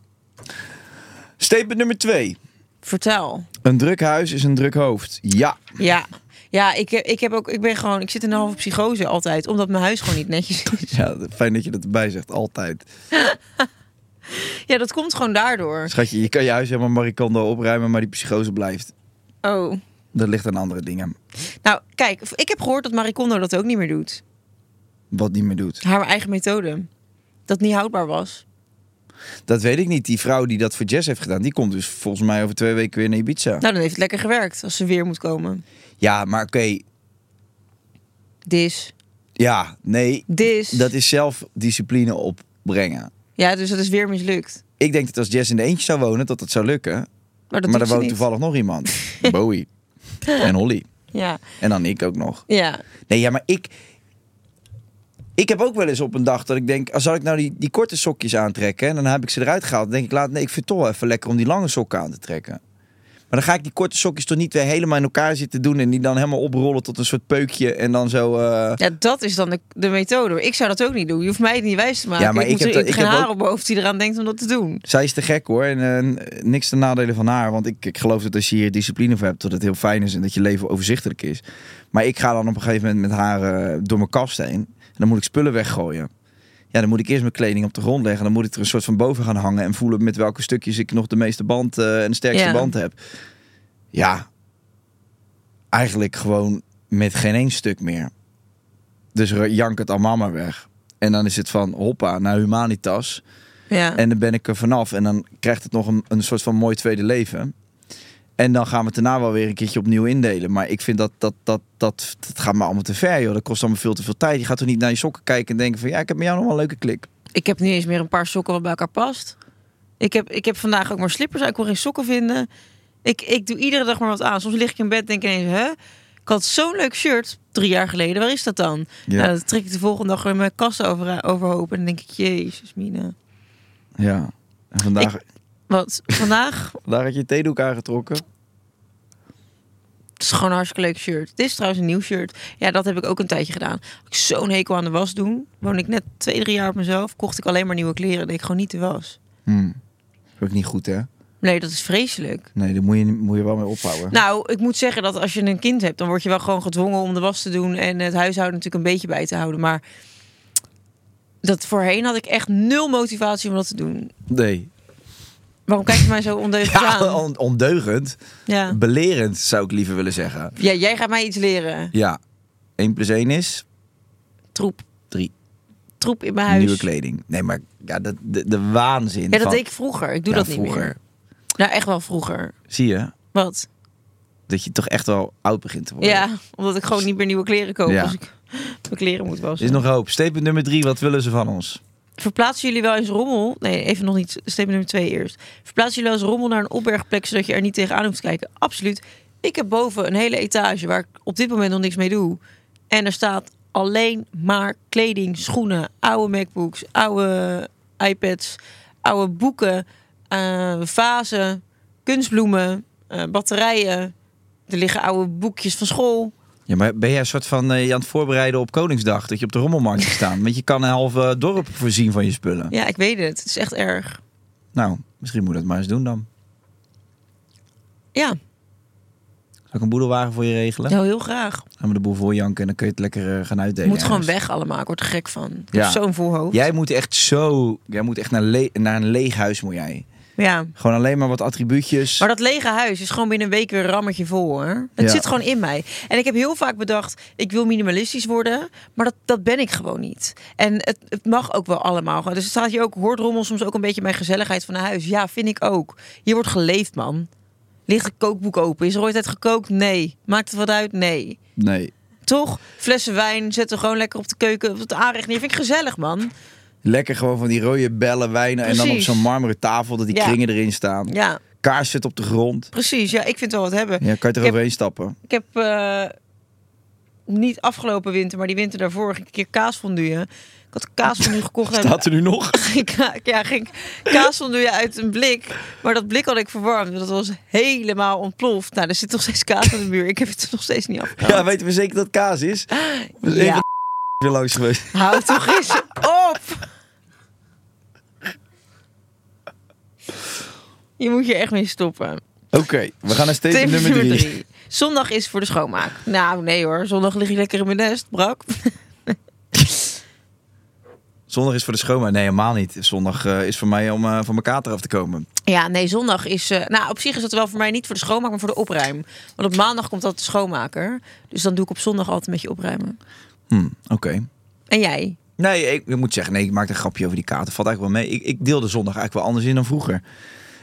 S5: Statement nummer twee.
S4: Vertel.
S5: Een druk huis is een druk hoofd. Ja.
S4: Ja. Ja, ik, heb- ik, heb ook, ik ben gewoon, ik zit in een halve psychose altijd, omdat mijn huis gewoon niet netjes is.
S5: Ja, fijn dat je dat erbij zegt, altijd.
S4: *laughs* Ja, dat komt gewoon daardoor.
S5: Schatje, je kan je huis helemaal marikando opruimen, maar die psychose blijft.
S4: Oh.
S5: Dat ligt aan andere dingen.
S4: Nou, kijk, ik heb gehoord dat Marie Kondo dat ook niet meer doet.
S5: Wat niet meer doet.
S4: Haar eigen methode. Dat niet houdbaar was.
S5: Dat weet ik niet. Die vrouw die dat voor Jess heeft gedaan, die komt dus volgens mij over twee weken weer naar Ibiza.
S4: Nou, dan heeft het lekker gewerkt als ze weer moet komen.
S5: Ja, maar oké.
S4: Dis.
S5: Ja, nee.
S4: Dis.
S5: Dat is zelfdiscipline opbrengen.
S4: Ja, dus dat is weer mislukt.
S5: Ik denk dat als Jess in de eentje zou wonen, dat dat zou lukken.
S4: Maar dat
S5: maar
S4: doet
S5: er
S4: ze
S5: woont
S4: niet.
S5: toevallig nog iemand. *laughs* Bowie. En Holly.
S4: Ja.
S5: En dan ik ook nog.
S4: Ja.
S5: Nee, ja, maar ik... Ik heb ook wel eens op een dag dat ik denk... ah, Zal ik nou die, die korte sokjes aantrekken? En dan heb ik ze eruit gehaald. Dan denk ik laat, nee, ik vind het toch wel even lekker om die lange sokken aan te trekken. Maar dan ga ik die korte sokjes toch niet weer helemaal in elkaar zitten doen... en die dan helemaal oprollen tot een soort peukje en dan zo... eh,
S4: Ja, dat is dan de, de methode. Ik zou dat ook niet doen. Je hoeft mij het niet wijs te maken.
S5: Ja, maar
S4: ik,
S5: ik
S4: moet
S5: heb
S4: er,
S5: dat- ik
S4: geen
S5: heb
S4: haar
S5: ook-
S4: op mijn hoofd die eraan denkt om dat te doen.
S5: Zij is te gek hoor. En eh, niks ten nadelen van haar. Want ik, ik geloof dat als je hier discipline voor hebt, dat het heel fijn is en dat je leven overzichtelijk is. Maar ik ga dan op een gegeven moment met haar eh, door mijn kast heen. En dan moet ik spullen weggooien. Ja, dan moet ik eerst mijn kleding op de grond leggen. Dan moet ik er een soort van boven gaan hangen en voelen met welke stukjes ik nog de meeste band eh, en de sterkste
S4: Ja.
S5: band heb. Ja, eigenlijk gewoon met geen één stuk meer. Dus jank het allemaal maar weg. En dan is het van hoppa naar Humanitas.
S4: Ja.
S5: En dan ben ik er vanaf. En dan krijgt het nog een, een soort van mooi tweede leven. En dan gaan we het daarna wel weer een keertje opnieuw indelen. Maar ik vind dat dat, dat, dat, dat gaat me allemaal te ver, joh. Dat kost allemaal veel te veel tijd. Je gaat toch niet naar je sokken kijken en denken van... ja, ik heb met jou nog wel een leuke klik.
S4: Ik heb niet eens meer een paar sokken wat bij elkaar past. Ik heb, ik heb vandaag ook maar slippers uit. Ik kon geen sokken vinden. Ik, ik doe iedere dag maar wat aan. Soms lig ik in bed en denk ik ineens... Hè? Ik had zo'n leuk shirt drie jaar geleden. Waar is dat dan?
S5: Ja.
S4: Nou, dan trek ik de volgende dag weer mijn kast over, eh, overhoop. En dan denk ik, jezus mina.
S5: Ja. En vandaag,
S4: Want vandaag
S5: vandaag had je je theedoek aangetrokken.
S4: Het is gewoon een hartstikke leuk shirt. Dit is trouwens een nieuw shirt. Ja, dat heb ik ook een tijdje gedaan. Had Ik zo'n hekel aan de was doen. Woon ik net twee, drie jaar op mezelf. Kocht ik alleen maar nieuwe kleren. Deed ik gewoon niet de was.
S5: Ook niet goed, hè?
S4: Nee, dat is vreselijk.
S5: Nee, daar moet je, moet je wel mee ophouden.
S4: Nou, ik moet zeggen dat als je een kind hebt, dan word je wel gewoon gedwongen om de was te doen. En het huishouden natuurlijk een beetje bij te houden. Maar dat voorheen had ik echt nul motivatie om dat te doen. *laughs*
S5: nee.
S4: Waarom kijk je mij zo
S5: *laughs*
S4: ondeugend
S5: Ja,
S4: aan?
S5: on- ondeugend.
S4: Ja.
S5: Belerend, zou ik liever willen zeggen.
S4: ja, jij gaat mij iets leren.
S5: Ja. 1 plus 1 is
S4: Troep.
S5: 3.
S4: Troep in mijn huis.
S5: Nieuwe kleding. Nee, maar ja, dat, de, de waanzin
S4: Ja, dat
S5: van...
S4: deed ik vroeger. Ik doe
S5: Ja,
S4: dat niet meer. Nou, echt wel vroeger.
S5: Zie je?
S4: Wat?
S5: Dat je toch echt wel oud begint te worden.
S4: Ja, omdat ik gewoon niet meer nieuwe kleren koop
S5: Ja.
S4: als ik mijn kleren moet
S5: Er
S4: wassen.
S5: is nog hoop. Statement nummer drie. Wat willen ze van ons?
S4: Verplaatsen jullie wel eens rommel? Nee, even nog niet. Statement nummer twee eerst. Verplaatsen jullie wel eens rommel naar een opbergplek zodat je er niet tegenaan hoeft te kijken? Absoluut. Ik heb boven een hele etage waar ik op dit moment nog niks mee doe. En er staat alleen maar kleding, schoenen, oude MacBooks, oude iPads, oude boeken, eh, vazen, kunstbloemen, eh, batterijen. Er liggen oude boekjes van school.
S5: Ja, maar ben jij een soort van eh, je aan het voorbereiden op Koningsdag? Dat je op de rommelmarkt gaat staan? Want je kan een half eh, dorp voorzien van je spullen.
S4: Ja, ik weet het. Het is echt erg.
S5: Nou, misschien moet je dat maar eens doen dan.
S4: Ja,
S5: Zal ik een boedelwagen voor je regelen?
S4: nou heel graag.
S5: Gaan we de boel voor janken en dan kun je het lekker eh, gaan uitdelen.
S4: moet gewoon
S5: ergens.
S4: weg allemaal. Ik word er gek van. Ik
S5: Ja.
S4: heb zo'n voorhoofd.
S5: Jij moet echt zo... Jij moet echt naar, le- naar een leeg huis moet jij.
S4: Ja.
S5: Gewoon alleen maar wat attribuutjes.
S4: Maar dat lege huis is gewoon binnen een week weer een rammetje vol hoor. Het
S5: Ja.
S4: zit gewoon in mij. En ik heb heel vaak bedacht, ik wil minimalistisch worden. Maar dat, dat ben ik gewoon niet. En het, het mag ook wel allemaal. gewoon. Dus het staat je ook, hoort rommel soms ook een beetje mijn gezelligheid van een huis. Ja, vind ik ook. Hier wordt geleefd man. Ligt een kookboek open? Is er ooit uit gekookt? Nee. Maakt het wat uit? Nee.
S5: Nee.
S4: Toch? Flessen wijn zetten we gewoon lekker op de keuken, op het aanrecht neer. Vind ik gezellig man.
S5: Lekker gewoon van die rode bellen wijnen. En dan op
S4: Precies.
S5: zo'n marmeren tafel dat die
S4: Ja.
S5: kringen erin staan.
S4: Ja.
S5: Kaars zit op de grond.
S4: Precies, ja, ik vind wel wat hebben.
S5: Ja, kan je er
S4: ik, heb,
S5: overheen stappen.
S4: ik heb eh, niet afgelopen winter, maar die winter daarvoor ging ik een keer kaasfondue. Ik had kaasfondue gekocht. uit- *laughs*
S5: Staat er nu nog?
S4: Ka- ja, ging kaasfondue uit een blik. Maar dat blik had ik verwarmd. Dat was helemaal ontploft. Nou, er zit nog steeds kaas aan de muur. Ik heb het er nog steeds niet afgehaald.
S5: *laughs* Ja, weten we zeker dat het kaas is? We zijn
S4: Ja.
S5: even *laughs* weer langs geweest.
S4: Houd toch eens op! Je moet je echt mee stoppen.
S5: Oké, we gaan naar statement
S4: Tip
S5: nummer drie.
S4: drie. zondag is voor de schoonmaak. Nou, nee hoor. Zondag lig ik lekker in mijn nest, brak. *laughs*
S5: Zondag is voor de schoonmaak. Nee, helemaal niet. Zondag eh, is voor mij om eh, van mijn kater af te komen.
S4: Ja, nee, zondag is... eh, nou, op zich is dat wel voor mij niet voor de schoonmaak, maar voor de opruim. Want op maandag komt altijd de schoonmaker. Dus dan doe ik op zondag altijd met je opruimen.
S5: Hm, Oké.
S4: En jij?
S5: Nee, ik, ik moet zeggen, nee, ik maak een grapje over die kater. Valt eigenlijk wel mee. Ik, ik deel de zondag eigenlijk wel anders in dan vroeger.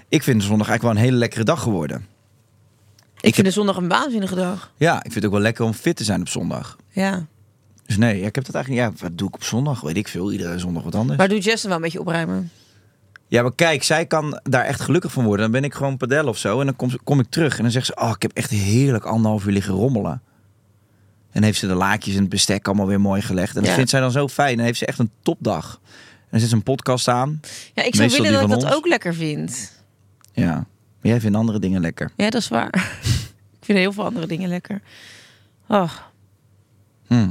S5: Ik vind de zondag eigenlijk wel een hele lekkere dag geworden.
S4: Ik,
S5: heb-
S4: vind de zondag een waanzinnige dag.
S5: Ja, ik vind het ook wel lekker om fit te zijn op zondag.
S4: Ja.
S5: Dus nee, ja, ik heb dat eigenlijk niet. Ja, wat doe ik op zondag? Weet ik veel. Iedere zondag wat anders.
S4: Maar doet Jess dan wel met je opruimen?
S5: Ja, maar kijk, zij kan daar echt gelukkig van worden. Dan ben ik gewoon padel of zo. En dan kom, ze- kom ik terug. En dan zegt ze: Oh, ik heb echt heerlijk anderhalf uur liggen rommelen. En heeft ze de laakjes en het bestek allemaal weer mooi gelegd. En dat
S4: Ja.
S5: vindt zij dan zo fijn. En dan heeft ze echt een topdag. En dan zet ze een podcast aan.
S4: Ja, ik zou
S5: Meestal
S4: willen
S5: die
S4: dat ik
S5: van
S4: dat
S5: ons.
S4: ook lekker vind.
S5: Ja. Maar jij vindt andere dingen lekker.
S4: Ja, dat is waar. *laughs* ik vind heel veel andere dingen lekker. Oh,
S5: Hm.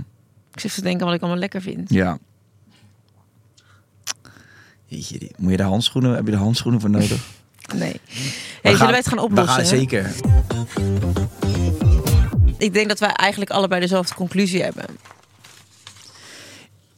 S4: ik zit te denken wat ik allemaal lekker vind.
S5: Ja. Jeetje, die- moet je de handschoenen? Heb je de handschoenen voor
S4: *laughs*
S5: nodig?
S4: Nee.
S5: We
S4: Hey, zullen wij het gaan oplossen?
S5: We gaan zeker.
S4: Ik denk dat wij eigenlijk allebei dezelfde conclusie hebben.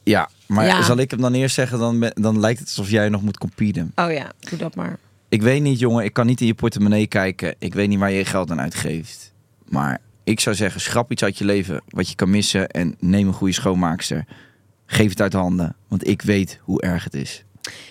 S5: Ja, maar
S4: Ja.
S5: zal ik hem dan eerst zeggen? Dan, ben- dan lijkt het alsof jij nog moet competen.
S4: Oh ja, doe dat maar.
S5: Ik weet niet, jongen. Ik kan niet in je portemonnee kijken. Ik weet niet waar je je geld aan uitgeeft. Maar ik zou zeggen, schrap iets uit je leven wat je kan missen. En neem een goede schoonmaakster. Geef het uit handen. Want ik weet hoe erg het is.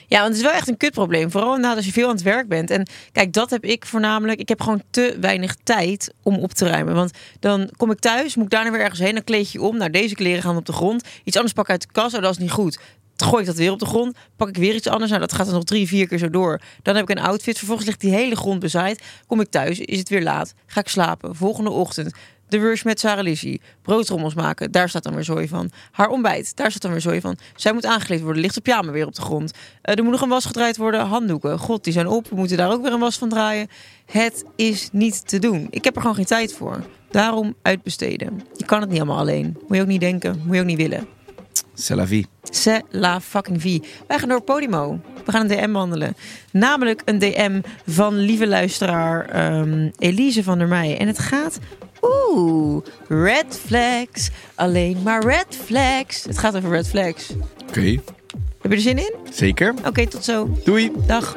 S4: Ja, want het is wel echt een kutprobleem. Vooral inderdaad als je veel aan het werk bent. En kijk, dat heb ik voornamelijk. Ik heb gewoon te weinig tijd om op te ruimen. Want dan kom ik thuis, moet ik daarna weer ergens heen. Dan kleed je je om. Nou, deze kleren gaan op de grond. Iets anders pak ik uit de kast. Oh, dat is niet goed. Dan Gooi ik dat weer op de grond, pak ik weer iets anders. Nou, dat gaat dan nog drie, vier keer zo door. Dan heb ik een outfit. Vervolgens ligt die hele grond bezaaid. Kom ik thuis, is het weer laat. Ga ik slapen. Volgende ochtend. De rush met Sarah Lizzie. Broodrommels maken, daar staat dan weer zooi van. Haar ontbijt, daar staat dan weer zooi van. Zij moet aangekleed worden, ligt de pyjama weer op de grond. Eh, er moet nog een was gedraaid worden, handdoeken. God, die zijn op, we moeten daar ook weer een was van draaien. Het is niet te doen. Ik heb er gewoon geen tijd voor. Daarom uitbesteden. Je kan het niet allemaal alleen. Moet je ook niet denken, moet je ook niet willen.
S5: C'est la vie.
S4: C'est la fucking vie. Wij gaan door Podimo. We gaan een DM wandelen. Namelijk een DM van lieve luisteraar ehm, Elise van der Meij. En het gaat... Oeh, red flags. Alleen maar red flags. Het gaat over red flags.
S5: Oké,
S4: Heb je er zin in?
S5: zeker.
S4: Oké, tot zo.
S5: Doei.
S4: Dag.